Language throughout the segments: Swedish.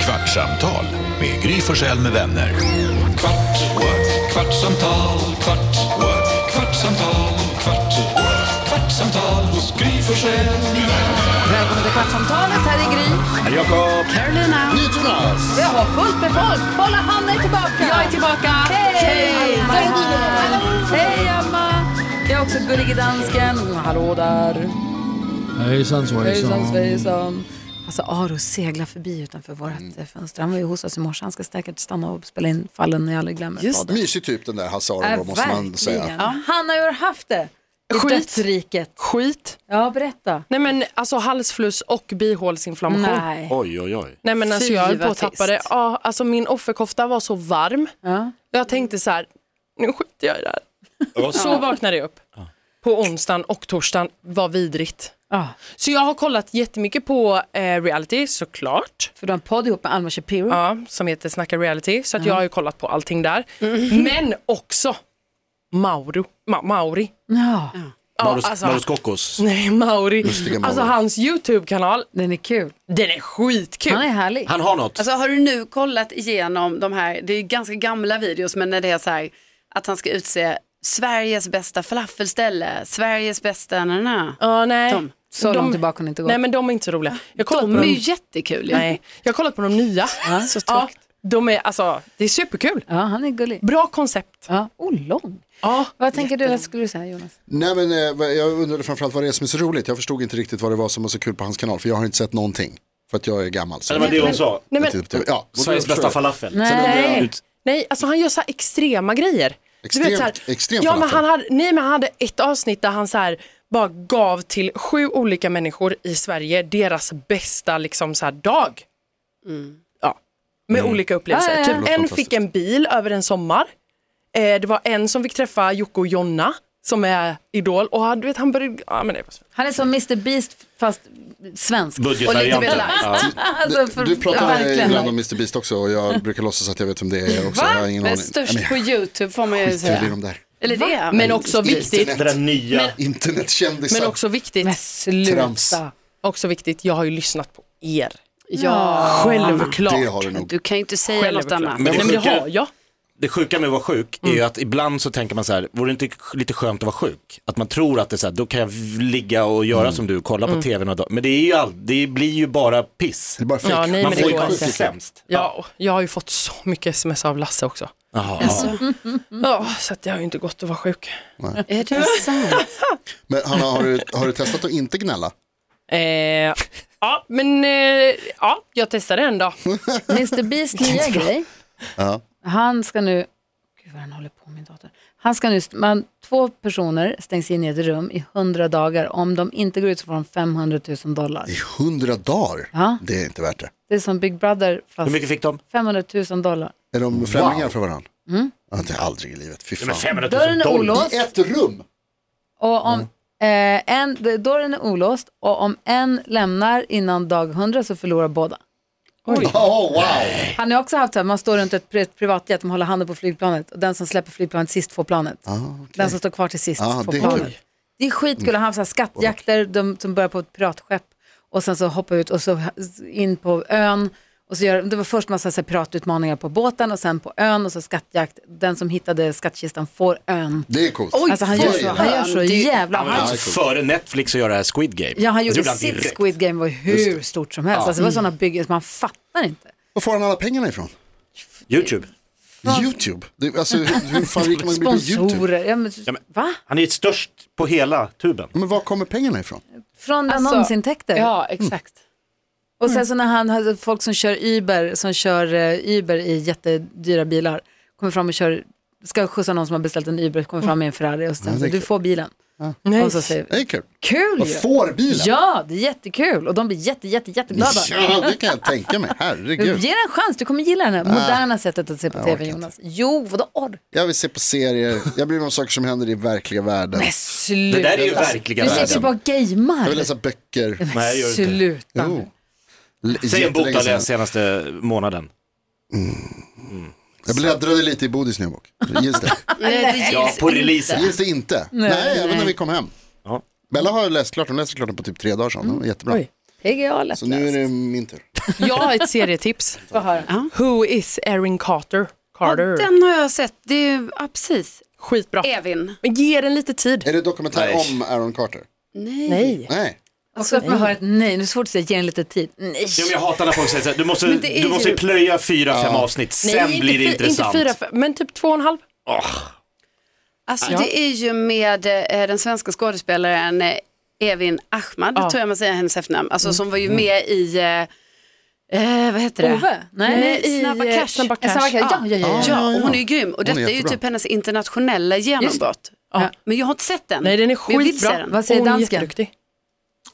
Kvartsamtal med Gry Forssell med vänner. Kvart, what? kvartsamtal, kvart, what? kvartsamtal, kvart, what? kvartsamtal hos Gry Forssell med vänner. Välkommen till Kvartsamtalet. Här är Gry. Jakob! Carolina. Jonas! Vi har fullt med folk. Kolla, Hanna är tillbaka. Jag är tillbaka. Hej! Hej, Hanna. Hej, Emma. Jag är också gullig i dansken. Mm, Hallå där. Hejsan Hejsan svejsan. svejsan. Alltså Aro seglar förbi utanför vårt Mm. eh, fönster. Han var ju hos oss i morse. Han ska säkert stanna och spela in fallen när jag aldrig glömmer Just Mysig typ den där Hasse då måste man säga. Han har ju haft det. I Skit. dödsriket. Skit. Ja, berätta. Nej men alltså halsfluss och bihåleinflammation. Nej, Nej. Oj, oj, oj. men alltså Fy, jag höll vad på att tappa det. trist. Ja, alltså min offerkofta var så varm. Ja. Jag tänkte så här, nu skiter jag i det här. Ja. Så vaknade jag upp. På onsdagen och torsdagen var vidrigt. Ja. Så jag har kollat jättemycket på eh, reality såklart. För du har en podd ihop med Alma Shapiro. Ja, som heter Snacka reality. Så att jag har ju kollat på allting där. Mm. Men också Mauro, Ma- Mauri. Ja. Ja, Maurus, alltså- Maurus Kokos. Nej, Mauri. Alltså Mauri. hans YouTube-kanal, Den är kul. den är skitkul. Han är härlig. Han har något. Alltså har du nu kollat igenom de här, det är ju ganska gamla videos, men när det är så här att han ska utse Sveriges bästa falafelställe, Sveriges bästa nana. Ja, nej. Tom. Så de, långt tillbaka kan det inte gå. Nej, men de är inte så roliga. Jag har kollat De på är ju dem. jättekul ju. Nej, jag har kollat på de nya. Så Ja, tråkigt. de är, alltså, det är superkul. Ja, han är gullig. Bra koncept. Ja, oh, lång. Ja. Vad tänker du, vad skulle du säga Jonas? Nej, men, eh, vad- jag undrade framförallt vad det är som är så roligt. Jag förstod inte riktigt vad det var som var så kul på hans kanal för jag har inte sett någonting. För att jag är gammal. Så Det var det hon sa. Nej, Jag men, tittar på TV. ja, så Sveriges jag förstår bästa det. falafel. Nej. nej, alltså han gör så här extrema grejer. Extremt- så här, extrem ja, men falafel. han hade, Nej, men han hade ett avsnitt där han så här, bara gav till sju olika människor i Sverige deras bästa liksom, så här, dag. Ja, med Mm. olika upplevelser. Ja, ja, ja. Typ en fick en bil över en sommar. Eh, det var en som fick träffa Jocke och Jonna som är idol och han, du vet, han började, ja men det var så. Han är som Mr Beast fast svensk. Budgetvarianten. Ja. Alltså, för, Du pratar med verkligen. ibland om Mr Beast också och Mm. jag brukar låtsas att jag vet vem det är också. Jag har ingen Men aning. störst Nej, på YouTube får man ju men jag skiter i säga. de där. Eller det är han. Men också viktigt, Det där nya. Internetkändisar. men också viktigt, Men Trams. sluta. också viktigt, jag har ju lyssnat på er. Ja, Självklart. Det har du nog. du kan ju inte säga något Självklart. annat. Men det, Men Nej, men det det sjuka- har jag. Det sjuka med att vara sjuk Mm. är ju att ibland så tänker man så här, vore det inte lite skönt att vara sjuk? Att man tror att det är så här, då kan jag v- ligga och göra Mm. som du, kolla på tv några dagar. Men det, är ju all, det blir ju bara piss. Det är bara fake. Ja, nej, man men det får ju går konstigt inte. sämst. Ja, och jag har ju fått så mycket sms av Lasse också. Jaha. Alltså- Ja, så att jag har ju inte gått att vara sjuk. Är det sant? Men Hanna, har du, har du testat att inte gnälla? Eh, ja, men eh, ja, jag testade en dag. Mr Beast nya grej. Han ska nu, gud vad han håller på med min dator. Han ska nu, man, två personer stängs in i ett rum i 100 dagar. Om de inte går ut så får de 500 000 dollar. I hundra dagar? Ja. Det är inte värt det. Det är som Big Brother Hur fast mycket fick de? 500 000 dollar. Är de främlingar för varandra? Mm. Ja, det är aldrig i livet. Fy Nej, men fan. 500 000 Dörren är dollar. olåst. I ett rum? Och om Mm. eh, en, d- dörren är olåst och om en lämnar innan dag 100 så förlorar båda. Oh, wow. Han har också haft så här, man står runt ett pri- privatjet, de håller handen på flygplanet och den som släpper flygplanet sist får planet. Den som står kvar till sist Ah, får det är planet. kul. Mm. Det är skitkul, han har haft så här skattjakter, de som börjar på ett piratskepp och sen så hoppar ut och så ha- in på ön. Och så gör, det var först massa så här piratutmaningar på båten och sen på ön och så skattjakt. Den som hittade skattkistan får ön. Det är coolt. Alltså han gör Oj. så, han gör så jävla... Han var Han, alltså före Netflix att göra det här Squid Game. ja, han gjorde han sitt direkt. Squid Game var ju hur stort som helst. Alltså, det var Mm. sådana byggen som man fattar inte. Var får han alla pengarna ifrån? YouTube. YouTube? Det, alltså, hur, hur fan rik man blir på YouTube? Sponsorer, ja, men, men- va? Han är ju störst på hela tuben. Men var kommer pengarna ifrån? Från Alltså, annonsintäkter. Ja, exakt. Och Mm. sen så när han hade folk som kör Uber, som kör eh, Uber i jättedyra bilar, kommer fram och kör, ska skjutsa någon som har beställt en Uber, kommer fram med en Ferrari och sen Ja, så, det är du kul. får bilen. Nej. Mm. Och så säger vi, Det är kul. kul Och ju! får bilen? Ja, det är jättekul och de blir jätte, jätte, jätteglada. Ja, det kan jag tänka mig. Herregud. Ge den en chans, du kommer gilla det här Ah. moderna sättet att se på orkar tv inte. Jonas. Jo, vadå? Orr. Jag vill se på serier. Jag bryr mig om saker som händer i verkliga världen. Sluta. Det där är ju verkliga Du sitter ju världen. bara och gamear. Jag vill läsa böcker. Nej, jag gör inte. det. Sluta. Jo. L- Säg en bok du jättelänge har sedan. läst senaste månaden. Jag bläddrade lite i Bodis nya bok. Gills det? Nej, det Ja, gills på releasen. Gills det inte? Nej, även när vi kom hem. Ja. Bella har Mm. läst klart, hon läste klart den på typ tre dagar sedan. Den var jättebra. PGA Så nu är det min tur. Jag har ett serietips. Ja. Who is Erin Carter? Carter. Den har jag sett. Det är ju, ja, precis. Skitbra. Evin. Men ge den lite tid. Är det dokumentär Nej. om Aaron Carter? Nej. Nej. Nej. Också att man hör ett nej, nu är det svårt att säga, ge en lite tid. Nej. Ja, men jag hatar när folk säger såhär, du måste, Men det är du måste ju- plöja fyra, fem avsnitt, sen inte blir det fy- intressant. Inte fyra, men typ två och en halv. Alltså Ja. det är ju med eh, den svenska skådespelaren eh, Evin Ahmad, Ja. Mm. tror jag man säger hennes efternamn, alltså som var ju med i, eh, eh, vad heter det? Ove? Nej, Nej, i, Snabba eh, Cash. Snabba En Cash. snabb- Ja, ja, ja. ja. Ja, och hon är ju grym och detta är, ju jättebra. typ hennes internationella genombrott. Ja. Men jag har inte sett den. Nej, den är Men jag vill se skitbra. den. Vad säger Hon är dansken? jätteduktig.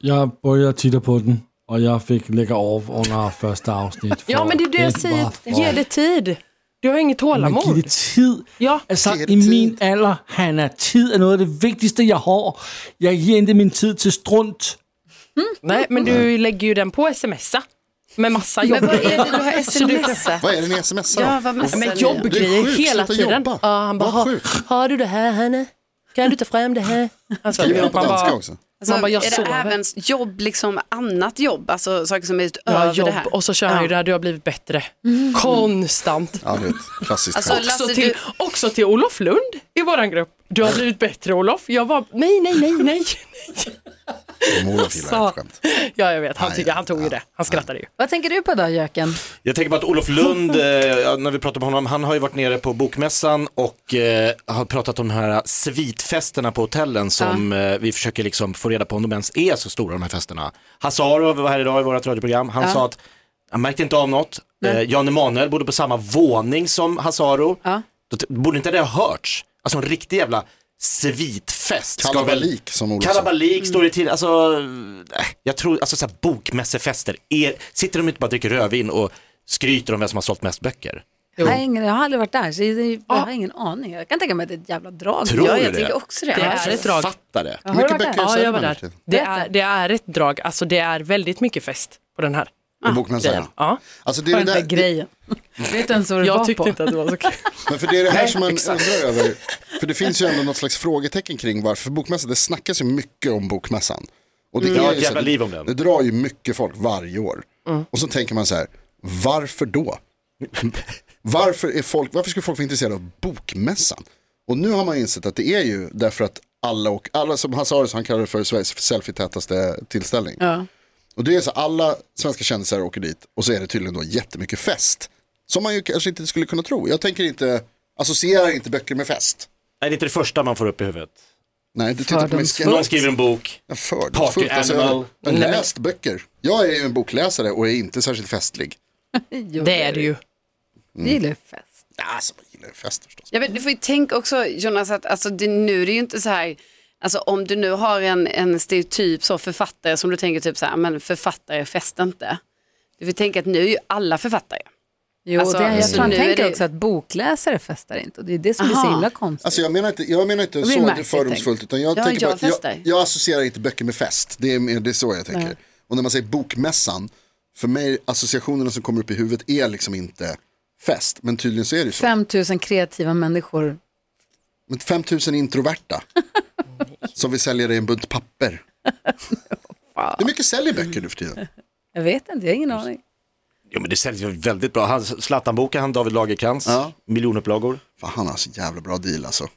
Jeg började titta på den, och jag fick lägga av under första avsnitt. Ja, men det är det jag säger. Ge det tid. Du har inget Man giver tålamod. det tid. Ja. Altså, Giv det i min tid. alder, han er tid er noget af det vigtigste, jeg har. Jeg giver ikke min tid til strunt. Nej, men du lägger ju den på smsa. Med massa jobb. Men vad är det du har smsat? Vad är det ni smsar Ja, om? vad messar Men ni? Du är jobbgrejer sjuk, hela sluta tiden. jobba. Ja, han bara, Var har, sjuk. har du det här Hanne? Kan du ta fram det här? Alltså, Skriver de man på danska bara, också? Alltså, man bara, jag är det sover. även jobb, liksom annat jobb, alltså saker som är utöver Ja, det jobb. här? Mm. Och så kör han ju det här, du har blivit bättre. Konstant. Ja, det är ett klassiskt Alltså, skämt. Lasse, Också till, du, också till Olof Lund i våran grupp. Du har blivit bättre Olof. Jag var, nej, nej, nej, nej. Morof gillar ett skämt. Ja, jag vet. Han, tycker, han tog ju det. Han skrattade ju. Vad tänker du på då, Jöken? Jag tänker på att Olof Lund, eh, ja, när vi pratar om honom, han har ju varit nere på bokmässan och eh, har pratat om de här svitfesterna på hotellen som eh, vi försöker liksom få reda på om de ens är så stora de här festerna. Hazarov var här idag i vårt radioprogram, han sa att han märkte inte av något. Eh, Jan Emanuel bodde på samma våning som Hazaro. Ja. Då t- borde inte det ha hörts? Alltså en riktig jävla svitfest. ska väl- Kalabalik som Olof sa. Kalabalik står det till, alltså, nej, jag tror, alltså så här, bokmässefester, er, sitter de inte bara och dricker rödvin och skryter om vem som har sålt mest böcker? Jag har, ingen, jag har aldrig varit där, så jag, jag har ingen aning. Jag kan tänka mig att det är ett jävla drag. Tror ja, du jag det? tycker också det. Det är Alltså, ett drag. Fattar det. Har Hur du varit mycket böcker där? Ja, säljer jag var man nu där. för tiden? Det är, det är ett drag. Alltså det är väldigt mycket fest på den här. På bokmässan? grejen. Ja. Alltså det På är den där det där, grejen. Vet du ens vad du var Jag på? tyckte inte att det var så kul. Men för det är det här som man undrar över. För det finns ju ändå något slags frågetecken kring varför för bokmässan, det snackas ju mycket om bokmässan. Och det, Mm. Ja, är ett ju jävla så- liv om den. Mm. det drar ju mycket folk varje år. Och så tänker man så här, varför då? varför, är folk, varför skulle folk vara intresserade av bokmässan? Och nu har man insett att det är ju därför att alla, och, alla som Hasse Aros, han kallar det för Sveriges selfie-tätaste tillställning. Och det är så alla svenska kändisar åker dit och så är det tydligen då jättemycket fest. Som man ju kanske inte skulle kunna tro. Jag tänker inte, associerar inte böcker med fest. Nej, det är inte det första man får upp i huvudet. Nej, du tittar på mig Fördomsfullt. Någon skeptiskt. skriver en bok, Jag är fördomsfullt. Party Alltså, jag animal. har jag har läst böcker. Jag är ju en bokläsare och är inte särskilt festlig. Jo, Det är det ju. Vi gillar ju fest. Alltså, jag gillar ju fest förstås. Ja, men du får ju tänka också Jonas att alltså, det, nu är det ju inte så här, alltså, om du nu har en, en stereotyp så författare som du tänker typ så här, men författare fest inte. Du får tänka att nu är ju alla författare. Jo, Alltså, det, jag tror han nu är tänker det- också att bokläsare festar inte. Och det är det som är så Aha. himla konstigt. Alltså jag menar inte, jag menar inte blir så märkligt fördomsfullt, utan jag, Ja, tänker jag bara, jag, festar. jag associerar inte böcker med fest, det är, mer- det är så jag tänker. Och när man säger bokmässan, för mig, associationerna som kommer upp i huvudet är liksom inte fest, men tydligen så är det ju så. 5 000 kreativa människor. Men 5000 introverta, som vi säljer i en bunt papper. Hur mycket säljer böcker nu för tiden? Jag vet inte, jag har ingen aning. jo men det säljs ju väldigt bra. Han- Zlatan-boken, han David Lagercrantz, Ja. miljonupplagor. Fan, han har så jävla bra deal alltså.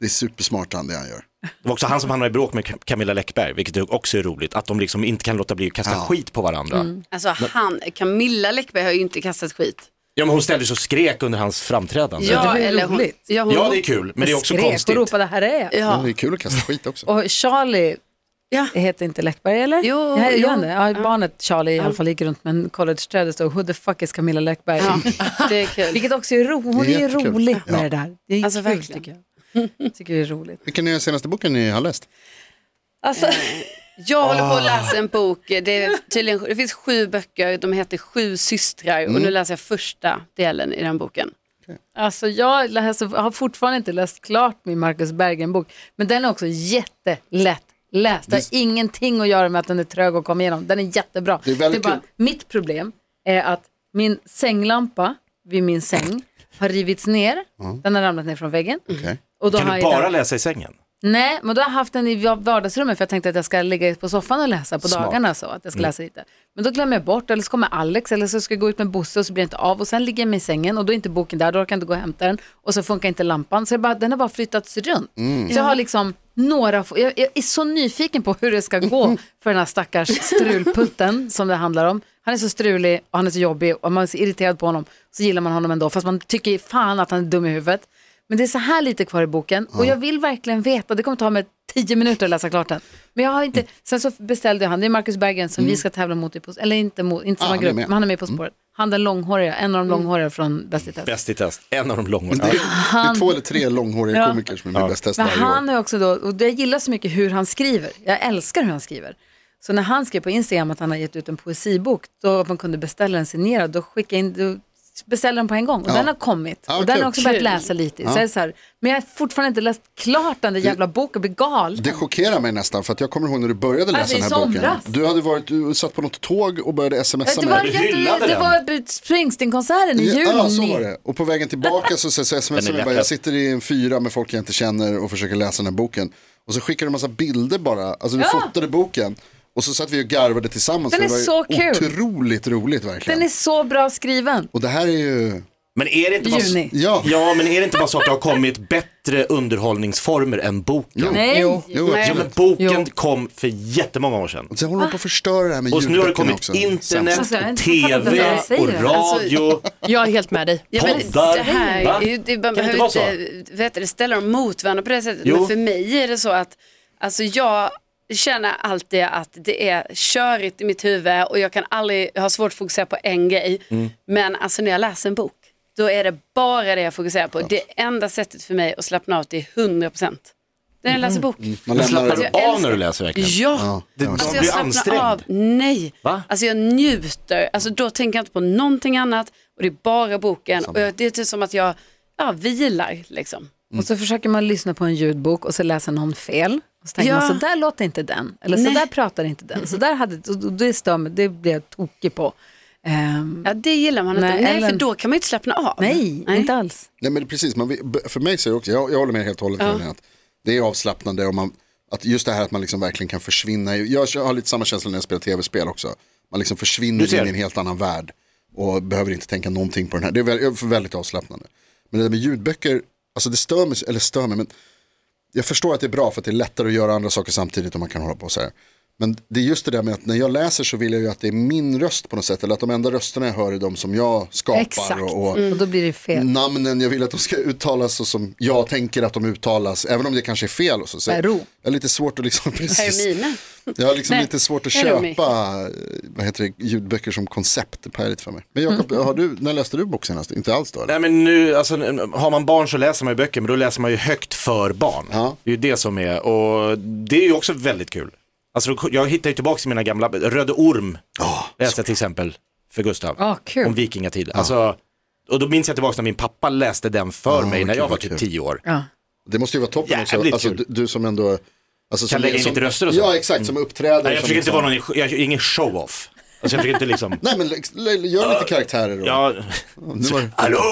Det är supersmart han det han gör. Det var också han som hamnade i bråk med Cam- Camilla Läckberg, vilket också är roligt, att de liksom inte kan låta bli att kasta skit på varandra. Mm. Alltså han, Camilla Läckberg har ju inte kastat skit. Ja men hon ställde sig och skrek under hans framträdande. det var ju hon, roligt. ja, hon, Ja, det är kul, men det är också Skrek konstigt. och ropade, här är jag. Ja. Ja. Det är kul att kasta skit också. Och Charlie Ja. heter inte Läckberg eller? Jo, ja, jo. ja. Ja, barnet Charlie i alla fall gick runt med en collegetröja och stod, who the fuck is Camilla Läckberg? ja, det är kul. Vilket också är roligt, hon Det är är ju jättekul. rolig med Ja. det där. Det är Alltså, kul verkligen. tycker jag. Tycker det är roligt. Vilken är den senaste boken ni har läst? Alltså, Jag håller på att läsa en bok, det, är tydligen, det finns sju böcker, de heter Sju systrar och Mm. nu läser jag första delen i den boken. alltså jag läser, har fortfarande inte läst klart min Marcus Bergen-bok, men den är också jättelätt läst. Det har ingenting att göra med att den är trög att komma igenom. Den är jättebra. Det är väldigt bara, kul. mitt problem är att min sänglampa vid min säng har rivits ner. Den har ramlat ner från väggen. Okej. Och då Kan har du jag bara den- läsa i sängen? Nej, men då har jag haft den i va- vardagsrummet för jag tänkte att jag ska ligga på soffan och läsa på Smart. dagarna så att jag ska läsa lite. Men då glömmer jag bort eller så kommer Alex eller så ska jag gå ut med Bosse och så blir det inte av och sen ligger jag mig i sängen och då är inte boken där, då orkar jag inte gå och hämta den och så funkar inte lampan så jag bara, den har bara flyttats runt. Så jag har liksom några, få- jag, jag är så nyfiken på hur det ska gå för den här stackars strulputten som det handlar om. Han är så strulig och han är så jobbig och man är så irriterad på honom så gillar man honom ändå fast man tycker fan att han är dum i huvudet. Men det är så här lite kvar i boken och jag vill verkligen veta, det kommer ta mig tio minuter att läsa klart den. Men jag har inte, Mm. sen så beställde jag han, det är Marcus Berggren som vi ska tävla mot, i på, eller inte, mot, inte samma han är grupp, med. Mm. men han är med På spåret. Han den långhåriga, en av de långhåriga från Bäst i test. Bäst i test, en av de Men långhåriga. det, är, det är två eller tre långhåriga Ja. komiker som är min bäst Men testare i år. han är också då, och jag gillar så mycket hur han skriver. Jag älskar hur han skriver. Så när han skrev på Instagram att han har gett ut en poesibok, då man kunde beställa den signerad, då skickade jag in, då beställde den på en gång. Och den har kommit. Ja, och den kul. har också börjat läsa lite. i. Så jag är så här, men jag har fortfarande inte läst klart den där jävla boken, blir galen. Det chockerar mig nästan för att jag kommer ihåg när du började läsa Alltså, i den här boken. somras. Du hade varit, du satt på något tåg och började smsa Det var, Du mig. hyllade jätte, det den. var Springsteen-konserten i juni. Ja, så var det. Och på vägen tillbaka så, så, så smsade jag bara, lätt. jag sitter i en fyra med folk jag inte känner och försöker läsa den här boken. Och så skickade du en massa bilder bara, alltså vi fotade boken. Och så satt vi och garvade tillsammans. Den för är det var ju så kul. Otroligt roligt verkligen. Den är så bra skriven. Och det här är ju, Men är det inte bara, Juni. ja, ja, men är det inte bara så att det har kommit bättre underhållningsformer än boken? jo, Nej. jo, jo Ja, absolut. men boken Jo. kom för jättemånga år sedan. Och sen håller de på att förstöra det här med Och nu har det ljudböckerna kommit också. internet, Alltså, jag har inte fattat vad tv jag säger. Alltså, och radio. Jag är helt med dig. Ja, men Poddar. det här, Va? är ju- det, Kan man det behöver inte vara inte vet, du, ställa dem mot varandra på det sättet. Jo. Men för mig är det så att alltså jag känner alltid att det är körigt i mitt huvud och jag kan aldrig, jag har svårt att fokusera på en grej. Mm. Men alltså när jag läser en bok, då är det bara det jag fokuserar på. Det enda sättet för mig att slappna av till 100%. Det är när jag Mm. läser bok. Man Men Alltså, slappnar lämnar, du jag av älskar- när du läser verkligen? Ja, Du Alltså du jag blir slappnar ansträngd. av. Nej, Va? alltså jag njuter. Alltså då tänker jag inte på någonting annat och det är bara boken. Och jag, det är typ som att jag ja, vilar liksom. Och så försöker man lyssna på en ljudbok och så läser någon fel. Och så tänker Ja. man, så där låter inte den. Eller så Nej. där pratar inte den. Så där hade, och- och det stör mig, det blir jag tokig på. Ehm, Ja, det gillar man Nej, inte. Nej, eller- för då kan man ju inte slappna av. nej, inte alls. nej men precis, man, vill- b- för mig så är det också, jag, jag håller med helt och hållet Caroline, att det är avslappnande och man, att just det här att man liksom verkligen kan försvinna. i- Jag har lite samma känsla när jag spelar tv-spel också. Man liksom Du försvinner ser. in i en helt annan värld och behöver inte tänka någonting på den här. Det är väldigt, väldigt avslappnande. Men det där med ljudböcker, alltså det stör mig, eller stör mig, men jag förstår att det är bra för att det är lättare att göra andra saker samtidigt om man kan hålla på så här. Men det är just det där med att när jag läser så vill jag ju att det är min röst på något sätt. Eller att de enda rösterna jag hör är de som jag skapar. Exakt. Och, Mm. och Och då blir det fel. namnen, jag vill att de ska uttalas så som jag tänker att de uttalas, även om det kanske är fel. Och så, så Vero. Jag har lite svårt att liksom, precis, Hermine. jag har liksom Nej, lite svårt att Hermi. köpa eh, vad heter det, ljudböcker som koncept, det pajar lite för mig. Men Jakob, har du, när läste du bok senast? Inte alls då? Eller? Nej men nu, alltså, har man barn så läser man ju böcker, men då läser man ju högt för barn. Ja. Det är ju det som är, och det är ju också väldigt kul. Alltså då- jag hittar ju tillbaka till mina gamla, Röde Orm läste jag till exempel för Gustav. Ah, kul. Om vikingatid. Alltså, och då minns jag tillbaka när min pappa läste den för Ah, mig när kul, jag var vad typ kul. tio år. Ja. Det måste ju vara toppen också, Jävligt alltså, kul. du, du som ändå... Alltså, som, lägga in som, lite röster och så. Mm. Ja, exakt, som uppträder. Nej, jag som försöker inte liksom- vara någon, jag är ingen show-off. Alltså jag försöker inte liksom, Nej, men liksom, l- gör lite karaktärer. Och, ja, nu var det- hallå,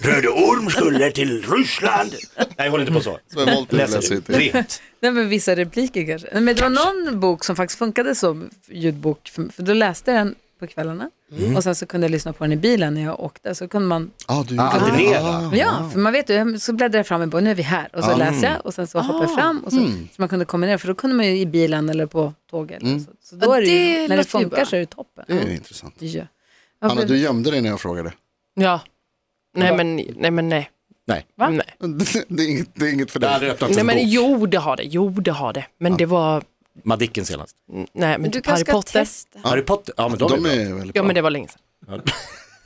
Röde Orm skulle till Ryssland. Nej, jag håller inte på så. det var Walter Läser läser du? inte. Rent. Nej, men vissa repliker kanske. Nej, Men det var någon bok som faktiskt funkade som ljudbok, för, för då läste jag den på kvällarna. Mm. Och sen så kunde jag lyssna på den i bilen när jag åkte. Så kunde man, Ah, du, Ah, alternera. ja, Ah. för man vet ju, så bläddrar jag fram i boken, nu är vi här. Och så läser jag och sen så hoppar jag fram. Och så, så man kunde kombinera, för då kunde man ju i bilen eller på tåget. eller Så, så då Ja, är det, det ju, när det låter ju funkar bra. så är det toppen. Det är ju intressant. Det gör. Anna, du gömde dig när jag frågade. Ja. Nej men nej. Men, nej. Nej. Nej. Det är inget, det är inget för Jag har dig. aldrig öppnat nej en men bok. jo det har det, jo det har det. Men det var, Madicken senast. nej men Du typ kanske Harry ska Potter. testa. Harry Potter, ja men de, De är, är väldigt Ja bra. men det var länge sedan.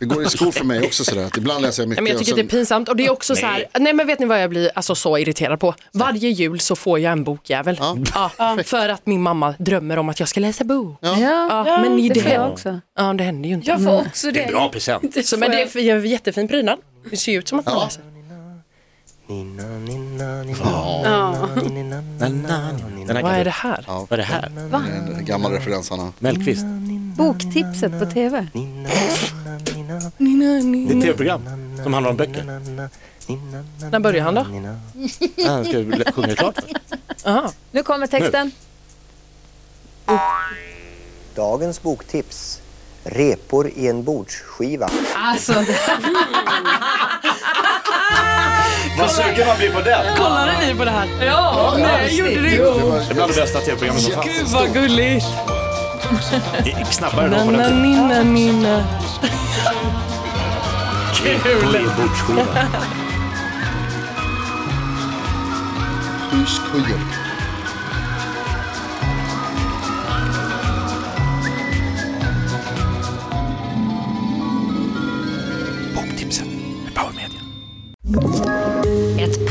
Det går i skor för mig också sådär. Att ibland läser jag mycket. Nej, men jag och tycker sen, det är pinsamt och det är också så här, Nej. nej men vet ni vad jag blir alltså, så irriterad på? Varje jul så får jag en bokjävel. Ja. för att min mamma drömmer om att jag ska läsa bok. Ja, Ja, men det, det får jag händer, också. ja, det händer ju inte. Jag Mm. får också det är det. en bra present. Så, men det är en jättefin prydnad. Det ser ju ut som att man läser. Na, na, na. Den här Vad kan är du- det här? Vad är det här? det är en gammal referens Anna. Mellqvist? Boktipset på tv. Det är ett tv-program som handlar om böcker. När börjar han då? Ah, ska jag lä- sjunga klart? för? Aha. Nu kommer texten. Dagens boktips. Repor i en bordsskiva. Alltså, Vad sugen man blir på den! Kollade ni på det här? Ja! Nej, gjorde Det du? Det är var bland det bästa tv-programmet som fanns. Gud vad gulligt! I- Snabbare än på den tiden. Na-na-nina-nina. Kul! en bordsskiva. huskujen. Boktipsen med Power Media. Ett